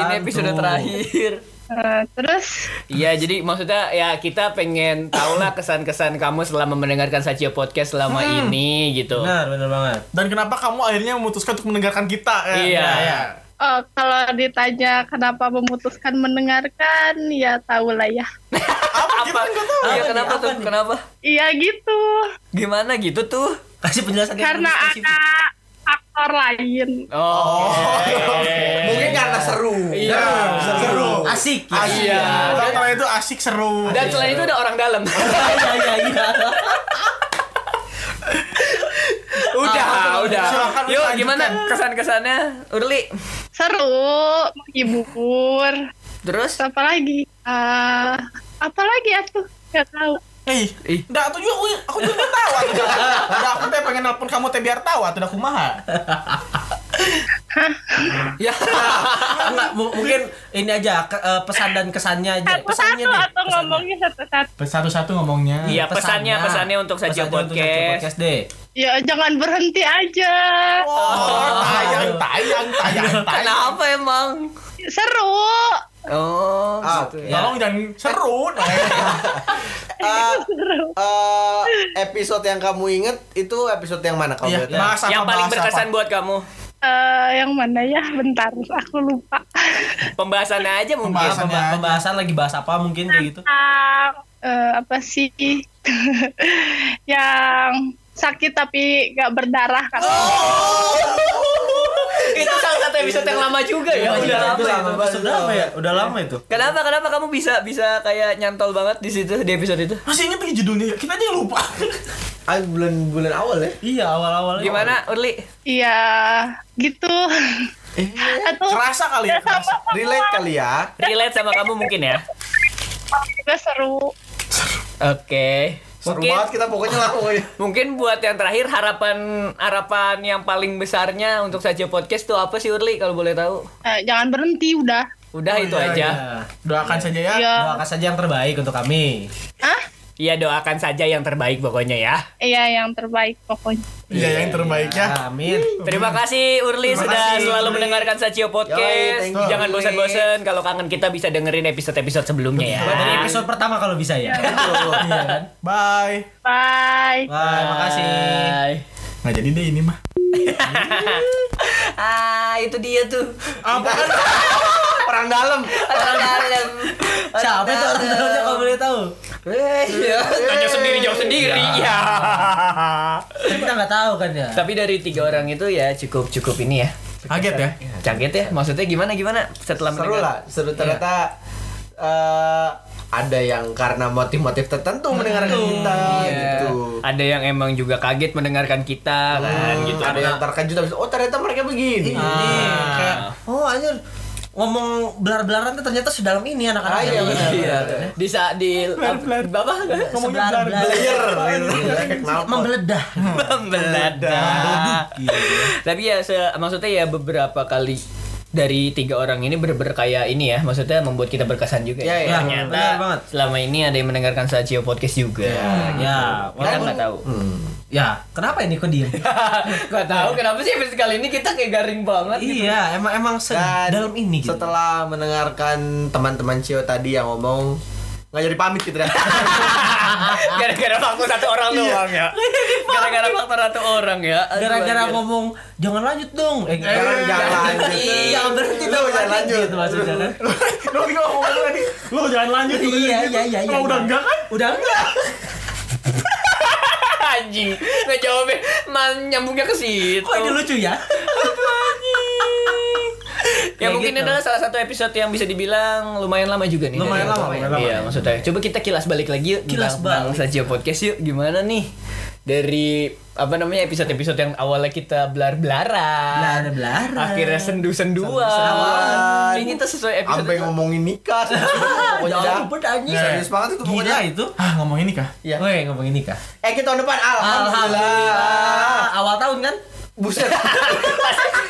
ini episode terakhir. Eh, terus Iya, jadi maksudnya ya kita pengen tahulah kesan-kesan kamu selama mendengarkan Saja Podcast selama Hmm. ini gitu. Benar, benar banget. Dan kenapa kamu akhirnya memutuskan untuk mendengarkan kita? ya? Iya. Ya, ya. eh, kalau ditanya kenapa memutuskan mendengarkan, ya tahulah ya. Apa? Iya, kenapa tuh? Kenapa? Iya gitu. Gimana gitu tuh? Kasih penjelasan Karena ada aktor lain. Oh. Mungkin karena seru. Iya. Seru. Asik. ya. Asik. Iya. Dan selain itu asik seru. Dan selain itu ada orang dalam. Iya, iya, iya. udah, Ah, udah. silakan Yuk, lanjutkan. gimana kesan-kesannya Urli? Seru, menghibur. Terus apa lagi? Eh, apa lagi ya tuh? Gak tahu. Ih, nggak aku juga aku, aku juga nggak tahu. Aku juga Nggak, aku teh pengen nelpon kamu teh biar tahu atau udah kumaha. ya. Enggak, mu- mungkin ini aja ke- eh, pesan dan kesannya aja. Pesannya Satu deh. atau ngomongnya satu-satu. Satu-satu ngomongnya. Iya, pesannya, pesannya untuk Saja Pesannya untuk Saja Podcast. podcast deh. Ya jangan berhenti aja. Tayang, tayang, tayang, Iya. tayang. Kenapa emang? Seru. Oh, Ah, gitu. Tolong jangan seru. nah. Iya. Eh, eh, episode yang kamu inget itu episode yang mana kamu Iya, inget? bahas apa, Yang paling bahas berkesan Iya, apa? buat kamu? Eh, yang mana ya? Bentar, aku lupa. Pembahasannya aja mungkin. Iya, Pembahasannya pemba- aja. pembahasan lagi bahas apa mungkin kayak gitu. Ah, eh, apa sih? yang sakit tapi gak berdarah kan? itu salah satu episode yang lama juga Iya, ya. Udah Itu lama lama, itu. itu Sudah lama ya? Udah lama itu. Kenapa kenapa kamu bisa bisa kayak nyantol banget di situ di episode itu? Masih inget lagi judulnya? Kita aja lupa. Ah, bulan bulan awal ya. Iya, awal-awal. Gimana Urli? Iya, gitu. Atau Kerasa kali ya. Kerasa. Relate kali ya. Relate sama kamu mungkin ya? juga seru. Oke. Seru Mungkin banget kita pokoknya lah pokoknya. mungkin buat yang terakhir harapan harapan yang paling besarnya untuk saja podcast tuh apa sih Urli kalau boleh tahu? Eh, jangan berhenti udah. Oh, Udah itu iya, aja. Doakan saja ya. Iya. Oh, iya, Doakan saja yang terbaik untuk kami. Hah? Iya doakan saja yang terbaik pokoknya ya. Iya, yang terbaik pokoknya. Iya, yang terbaik ya. Amin. Terima kasih Urli Terima sudah kasih, selalu Urli. mendengarkan Yoi, Sacio Podcast. thank you, Jangan Urli. bosan-bosan kalau kangen kita bisa dengerin episode-episode sebelumnya ya. Dari episode pertama kalau bisa ya. Iya kan? Bye. Bye. Wah, makasih. Bye. Nggak jadi deh ini mah. Ah, itu dia tuh. Perang dalam. Orang dalam. Siapa itu orang dalamnya kalau boleh tahu? Iya. Tanya sendiri jawab sendiri ya. Kan Kita nggak tahu kan ya. Tapi dari tiga orang itu ya cukup cukup ini ya. Kaget ya. Kaget ya? Maksudnya gimana gimana setelah Seru mendengar- lah. Seru ternyata eh, ada yang karena motif-motif tertentu mendengarkan kita Iya. gitu. Ada yang emang juga kaget mendengarkan kita kan gitu. Ada yang terkejut habis oh ternyata mereka begini. Ini kayak oh anjir ngomong belar-belaran tuh ternyata sedalam ini Ah, anak-anak. iya, benar, Iya. benar. Di saat di Bapak Player. Membeledah. Ya, Membedadak. Tapi ya se- maksudnya ya beberapa kali dari tiga orang ini bener-bener kayak ini ya maksudnya membuat kita berkesan juga Ya, Iya, ya. Ternyata Bener banget. selama ini ada yang mendengarkan Sacio podcast juga gitu. Nah, Ya, kita walaupun- nggak tahu Ya, kenapa ini kok diem? nggak tahu kenapa sih episode kali ini kita kayak garing banget gitu. iya, emang emang Dan sedalam ini gitu. Setelah mendengarkan teman-teman Cio tadi yang ngomong nggak jadi pamit gitu ya. dah. gara-gara faktor satu orang Iya. doang ya gara-gara faktor satu orang ya Aduh, gara-gara anjir. ngomong jangan lanjut dong. Eh, Iya, Jangan jangan lanjut. Jangan berhenti Lu dong, jangan lanjut. gitu maksudnya kan. Lo bikin ngomong apa tadi? Lo jangan lanjut. Iya, iya, iya, iya. Kalau udah enggak kan? Udah enggak. anjing nggak jawabnya man- nyambungnya ke situ Kok ini lucu ya? Ya, Kayak mungkin gitu. ini adalah salah satu episode yang bisa dibilang lumayan lama juga nih. Dari Lumayan lama, awal. lumayan lama. Iya, maksudnya. Coba kita kilas balik lagi yuk. Kilas tentang- tentang balik. Saja podcast yuk. Gimana nih? dari apa namanya episode-episode yang awalnya kita belar-belaran, Belar-belaran. akhirnya sendu-senduan. Sendu-senduan. Ini kita sesuai episode. Sampai ngomongin nikah. Pokoknya dah. Jauh bertanya. Serius banget itu pokoknya. itu. Ah, ngomongin nikah. Iya. Woi, ngomongin nikah. Eh, kita tahun depan alhamdulillah. Awal tahun kan? Buset.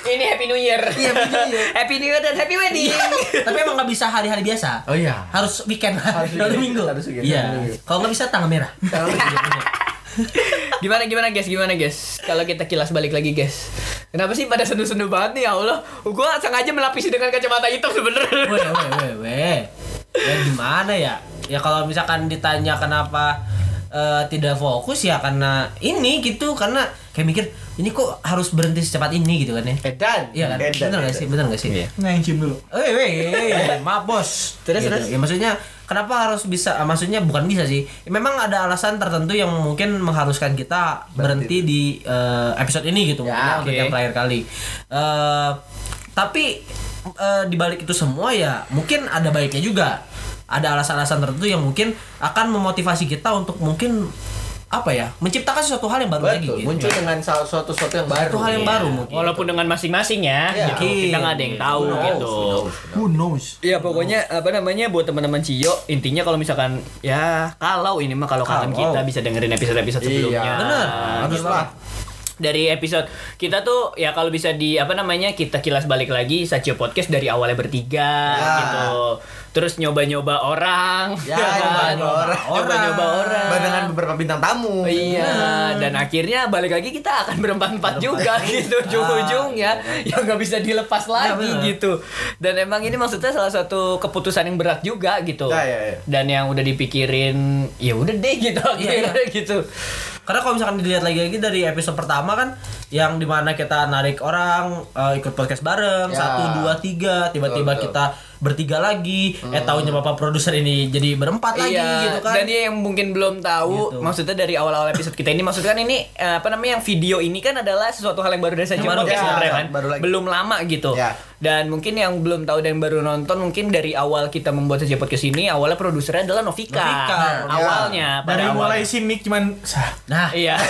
Ini Happy New Year. Iya, Happy New Year. Iya. Happy New Year dan Happy Wedding. Tapi emang nggak bisa hari-hari biasa. Oh iya. Harus weekend. Harus weekend. minggu. Harus weekend. Harus Iya. weekend. Kalau nggak bisa tanggal merah. gimana gimana guys gimana guys kalau kita kilas balik lagi guys kenapa sih pada sendu-sendu banget nih ya Allah gua sengaja melapisi dengan kacamata hitam sebenernya Weh, weh, weh, weh. Ya gimana ya? Ya kalau misalkan ditanya kenapa eh, tidak fokus ya karena ini gitu karena kayak mikir ini kok harus berhenti secepat ini gitu kan ya. Edan. Iya kan? Edan, Bener nggak edan. sih? Bener nggak sih? Nah, yang cium dulu. Eh, weh, eh, maaf bos. Terus, Gitu. terus? Ya maksudnya kenapa harus bisa? ah, Maksudnya bukan bisa sih. Ya, memang ada alasan tertentu yang mungkin mengharuskan kita berhenti di eh, episode ini gitu mungkin ya, untuk oke. yang terakhir kali. Eh, tapi dibalik di balik itu semua ya mungkin ada baiknya juga. Ada alasan-alasan tertentu yang mungkin akan memotivasi kita untuk mungkin apa ya menciptakan sesuatu hal yang baru lagi. Betul, gitu. muncul dengan sesuatu sesuatu yang baru. Sesuatu hal yang baru mungkin. walaupun dengan masing-masing ya Iya. gitu. kita nggak ada yang tahu gitu Who knows? Iya pokoknya apa namanya buat teman-teman Cio intinya kalau misalkan ya kalau ini mah kalau kangen Kalau. kita bisa dengerin episode-episode Iya, sebelumnya. bener. Harus Gitu. lah. Dari episode kita tuh ya kalau bisa di apa namanya kita kilas balik lagi Sacio Podcast dari awalnya bertiga Ya. gitu. Terus nyoba-nyoba orang. Ya, kan? nyoba-nyoba orang. Nyoba-nyoba orang. Dengan beberapa bintang tamu. Iya, dan akhirnya balik lagi kita akan berempat-empat juga gitu Ah. ujung-ujungnya yang nggak bisa dilepas Ya, lagi bener. gitu. Dan emang ini maksudnya salah satu keputusan yang berat juga gitu. Ya, ya, ya. Dan yang udah dipikirin, ya udah deh gitu Iya, akhirnya gitu. Karena kalau misalkan dilihat lagi-lagi dari episode pertama kan yang dimana kita narik orang eh, ikut podcast bareng Ya. satu dua tiga tiba-tiba Betul, betul. kita bertiga lagi eh tahunya bapak produser ini jadi berempat lagi Iya, gitu kan Dan dia yang mungkin belum tahu Gitu. maksudnya dari awal-awal episode kita ini maksudnya kan ini eh, apa namanya yang video ini kan adalah sesuatu hal yang baru dari saya Yang baru, podcast ya, sebenarnya kan. baru lagi. Belum lama gitu. Ya. Dan mungkin yang belum tahu dan baru nonton mungkin dari awal kita membuat saja podcast ini awalnya produsernya adalah Novika. Nah, Novika, ya. Awalnya pada Nah, Dari awal. mulai si Nick cuman sah. nah Iya.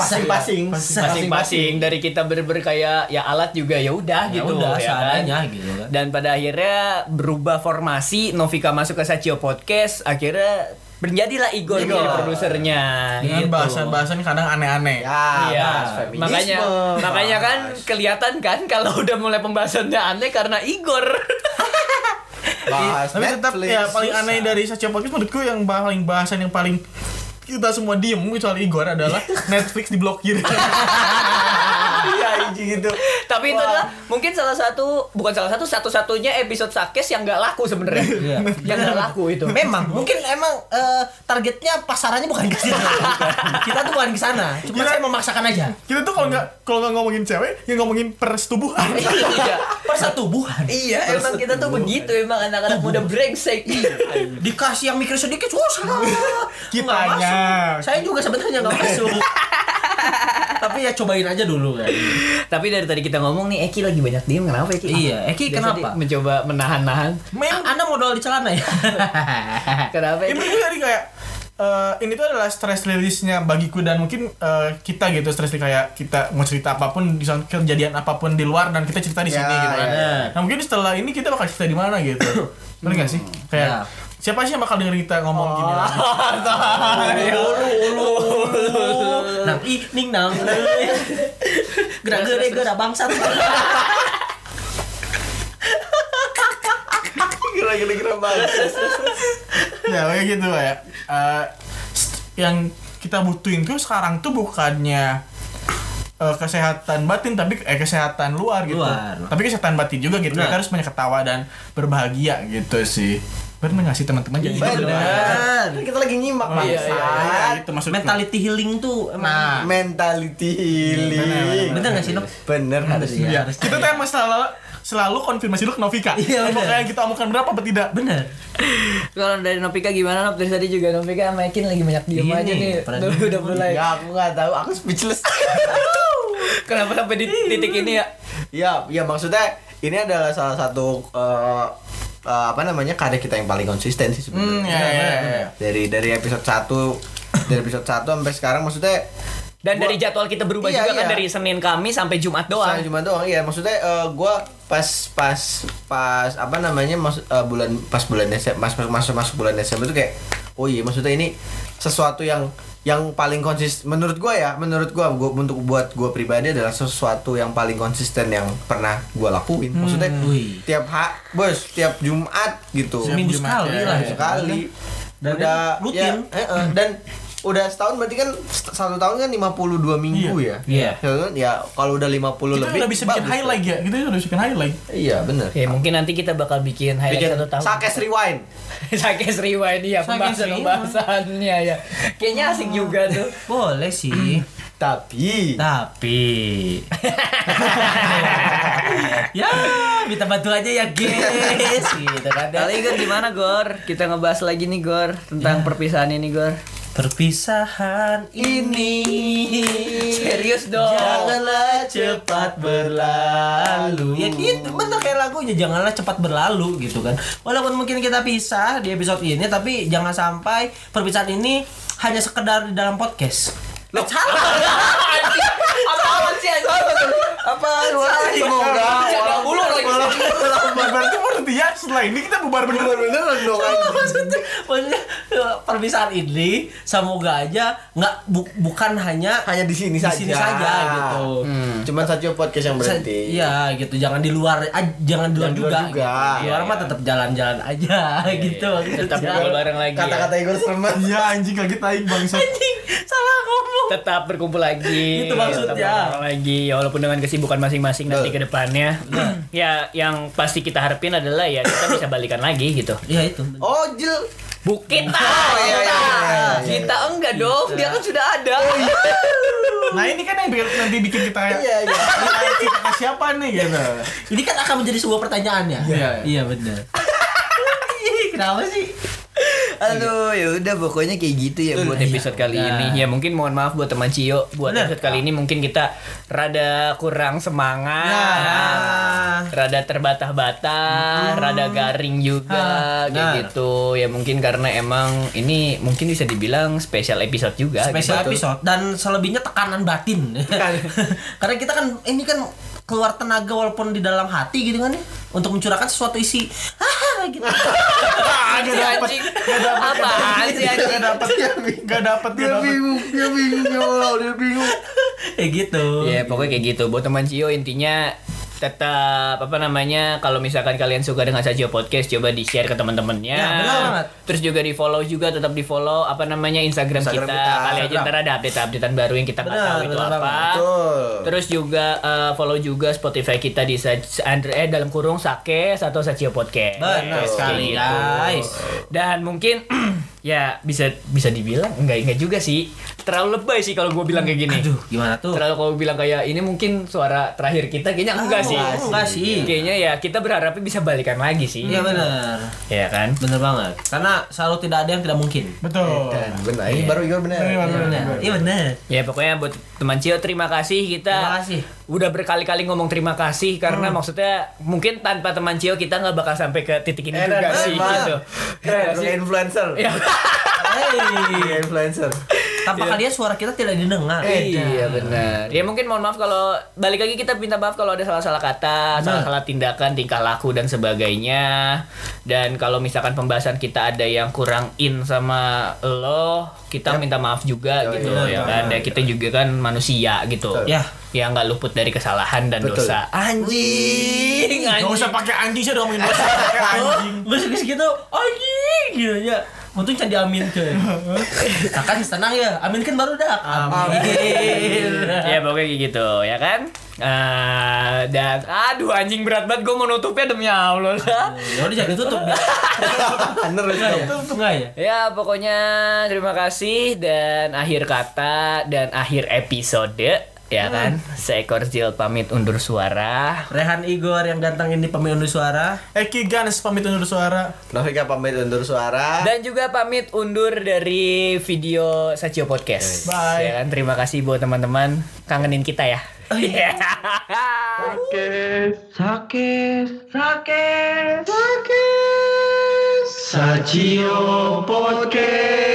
Pasing-pasing. Masing-masing dari kita berber kayak ya alat juga ya udah ya gitu ya udah kan? seadanya gitu kan Dan pada akhirnya berubah formasi, Novika masuk ke Sacio Podcast, akhirnya menjadilah Igor Igor. menjadi produsernya. Dengan gitu. bahasan-bahasan kadang aneh-aneh. Ya, Iya, bahas feminisme, makanya makanya kan bahas- kelihatan kan kalau udah mulai pembahasannya aneh karena Igor. bahas Tapi tetap Netflix, ya paling susah. aneh dari Sacha Podcast menurutku yang paling bahasan yang paling kita semua diem kecuali Igor adalah Netflix diblokir. Iya, anjing itu. Tapi itu Wah. adalah mungkin salah satu bukan salah satu satu-satunya episode Sakes yang nggak laku sebenarnya. Iya. yang nggak laku itu. memang mungkin emang eh, targetnya pasarannya bukan ke situ kita tuh bukan ke sana cuma Gila. saya memaksakan aja Kita tuh kalau nggak kalau nggak ngomongin cewek, yang ngomongin persetubuhan. iya. persatubuhan Iya, emang kita tuh begitu emang anak-anak muda brengsek. dikasih yang mikir sedikit susah Nggak Kitanya. masuk. saya juga sebenarnya nggak masuk tapi ya cobain aja dulu kan Tapi dari tadi kita ngomong nih Eki lagi banyak diem kenapa Eki? Iya, Eki Biasa kenapa? dia mencoba menahan-nahan. A- anda modal di celana ya Kenapa Ya, Eki? menurutku tadi kayak eh, ini tuh adalah stress release-nya bagiku dan mungkin eh, kita gitu stress release kayak kita mau cerita apapun di sana, kejadian apapun di luar dan kita cerita di Ya, sini gitu kan. ya. Nah mungkin setelah ini kita bakal cerita di mana gitu. Bener gak sih? Ya. Kayak siapa sih yang bakal dengerin kita ngomong gini lagi? ulu ulu Oh, nang i ning nang gerak gerak gerak bangsat Gila-gila banget. ya kayak gitu ya Eh, st- yang kita butuhin tuh sekarang tuh bukannya eh, kesehatan batin tapi eh, kesehatan luar gitu Luar. tapi kesehatan batin juga gitu Benar. kita harus banyak ketawa dan berbahagia gitu sih bener nggak sih teman-teman jadi Bener. Bener. Kan Kita lagi nyimak Oh, iya, iya, iya, bangsat. gitu maksudku. mentality healing tuh emang nah Mentality healing. bener nggak sih Nok? Bener harusnya. iya. kita tuh emang selalu selalu konfirmasi lu ke Novika Iya, benar. apakah yang kita omongkan berapa apa tidak bener Kalau dari Nopika gimana Nop? Dari tadi juga Nopika sama Eki lagi banyak diem Iya aja nih, nih. pada Udah, diem udah mulai. Ya aku nggak tahu, aku speechless. Kenapa sampai di titik ini ya? ya, ya maksudnya ini adalah salah satu eh, eh, apa namanya karya kita yang paling konsisten sih sebenarnya. Hmm, ya, ya, ya, ya. Dari dari episode 1 dari episode 1 sampai sekarang maksudnya Dan dari jadwal kita berubah Iya, juga kan iya. dari Senin Kamis sampai Jumat doang. Saya cuma doang iya maksudnya gue pas pas pas apa namanya mas eh, bulan pas bulan Desember pas pas- masuk masuk bulan Desember itu kayak oh iya maksudnya ini sesuatu yang yang paling konsisten menurut gue ya menurut gue gua, untuk buat gue pribadi adalah sesuatu yang paling konsisten yang pernah gue lakuin maksudnya tiap ha bos tiap Jumat gitu Seminggu Tiap sekali lah Jumat, seminggu ya. sekali dan udah rutin dan udah setahun berarti kan st- satu tahun kan 52 minggu ya Iya. Ya kan? ya kalau udah 50 Itu lebih udah bisa bikin bagus. highlight ya. Gitu udah bisa bikin highlight. Iya, bener. Ya mungkin nanti kita bakal bikin highlight Bikin satu tahun. Sakes Rewind. Sakes Rewind ya pembahasan pembahasannya ya. Kayaknya asik juga tuh. Boleh sih. Tapi. Nah. Tapi. ya, minta bantu aja ya, guys. gitu kan. Kali ini, Gor gimana Gor? Kita ngebahas lagi nih Gor tentang perpisahan ini Gor. Perpisahan ini Serius dong. Janganlah cepat berlalu Ya gitu bener kayak lagunya Janganlah cepat berlalu gitu kan Walaupun mungkin kita pisah di episode ini Tapi jangan sampai perpisahan ini Hanya sekedar di dalam podcast Lo Apaan sih Apa lu lagi ngobrol? Jaga bulu lagi. Berarti berarti ya setelah ini kita bubar bener. Bener dong. Salah, maksudnya, maksudnya eh, perpisahan ini semoga aja nggak bu- bukan hanya hanya di sini Hmm. di sini saja gitu. Cuman satu podcast yang Sa- berhenti. Iya gitu, jangan di luar, ah, jangan di luar Jangan di juga. luar juga. gitu. Di luar mah tetap jalan-jalan aja gitu. maksudnya. Tetap kumpul bareng lagi. Kata-kata ya. Igor serem banget. Iya anjing lagi taik bangsa. Anjing, salah ngomong. Tetap berkumpul lagi. Itu Gitu maksudnya. Tetap bareng lagi ya walaupun dengan kesibukan masing-masing nanti ke depannya. Nah. ya yang pasti kita harapin adalah ya kita bisa balikan lagi gitu. Iya itu. Oh, Jil. Bukit Oh, iya, iya, iya, iya, iya. Kita enggak dong, dia kan sudah ada. Nah ini kan yang bikin- nanti bikin kita Nah, Iya, iya. kita ke siapa nih gitu. Ini kan akan menjadi sebuah pertanyaan ya. Iya, Iya benar. Kenapa sih? Aduh, ya udah pokoknya kayak gitu ya Iya. buat episode kali ini. Ya mungkin mohon maaf buat teman Cio buat Bener. episode kali ini mungkin kita rada kurang semangat. Nah. Rada terbatah-batah, rada garing juga Ah, kayak Hmm. benar. gitu. Ya mungkin karena emang ini mungkin bisa dibilang special episode juga Special gitu. episode dan selebihnya tekanan batin. Karena kita kan ini kan keluar tenaga walaupun di dalam hati gitu kan ya untuk mencurahkan sesuatu isi Hahaha, gitu. Anjing, anjing. Apaan sih Iya, anjing? Gak dapet, gak dapet, gak Dia dapet. bingung, dia bingung, ya Allah, dia bingung. ya gitu. Ya pokoknya kayak gitu. Buat teman Cio intinya tetap apa namanya kalau misalkan kalian suka dengan Sajio Podcast coba di share ke teman-temannya. Ya, benar banget. Terus juga di follow juga tetap di follow apa namanya Instagram, Instagram kita. Kali kita, aja Instagram. ntar ada update-updatean baru yang kita nggak Benar, tahu itu benar apa. Ah. banget. Betul. Terus juga eh, follow juga Spotify kita di Saj- Andre eh dalam kurung Sakes atau Sajio Podcast. Benar Kayak sekali, gitu. guys. Dan mungkin ya bisa bisa dibilang enggak enggak juga sih. Terlalu lebay sih kalau gue bilang kayak gini. Aduh, gimana tuh? Terlalu kalau bilang kayak ini mungkin suara terakhir kita kayaknya enggak sih. enggak sih. Kayaknya ya kita berharapnya bisa balikan lagi sih. Iya benar. Iya kan? Bener banget. Karena selalu tidak ada yang tidak mungkin. Betul. Dan benar, ini baru Igor benar. Ini baru- Benar. Iya benar. Ya pokoknya buat teman Cio terima kasih kita Terima kasih. Hmm. udah berkali-kali ngomong terima kasih karena maksudnya mungkin tanpa teman Cio kita nggak bakal sampai ke titik ini Eh, juga dan- sih dan- gitu. Keren, kayak influencer. Iya. Kayak influencer. Tanpa kalian suara kita tidak didengar. Iya benar. Ya mungkin mohon maaf kalau balik lagi kita minta maaf kalau ada salah-salah kata, salah-salah tindakan, tingkah laku dan sebagainya. Dan kalau misalkan pembahasan kita ada yang kurang in sama lo, kita minta maaf juga gitu ya iya, kan. Dan kita juga kan manusia gitu. Ya. Ya nggak luput dari kesalahan dan Betul. dosa. Anjing. Gak anjing. Oh, usah pakai anjing sih udah ngomongin dosa pakai anjing. Terus terus gitu, anjing gitu ya. Untung can diamin ke. Akan tenang ya, amin kan baru dak. Amin. ya pokoknya kayak gitu ya kan Eh, dan aduh anjing berat banget gue mau nutupnya demi allah lah Ya udah jangan tutup ya. Bener, Enggak ya? Igor. Enggak ya? Ya, pokoknya terima kasih dan akhir kata dan akhir episode ya kan. Seekor jil pamit undur suara. Rehan Igor yang ganteng ini pemilu suara. Eki Gans pamit undur suara. Novika pamit undur suara. Dan juga pamit undur dari video Sacio Podcast. Bye. Ya kan? Terima kasih buat teman-teman kangenin kita ya. Iya. Sakit, sakit, sakit. Sajio Podcast.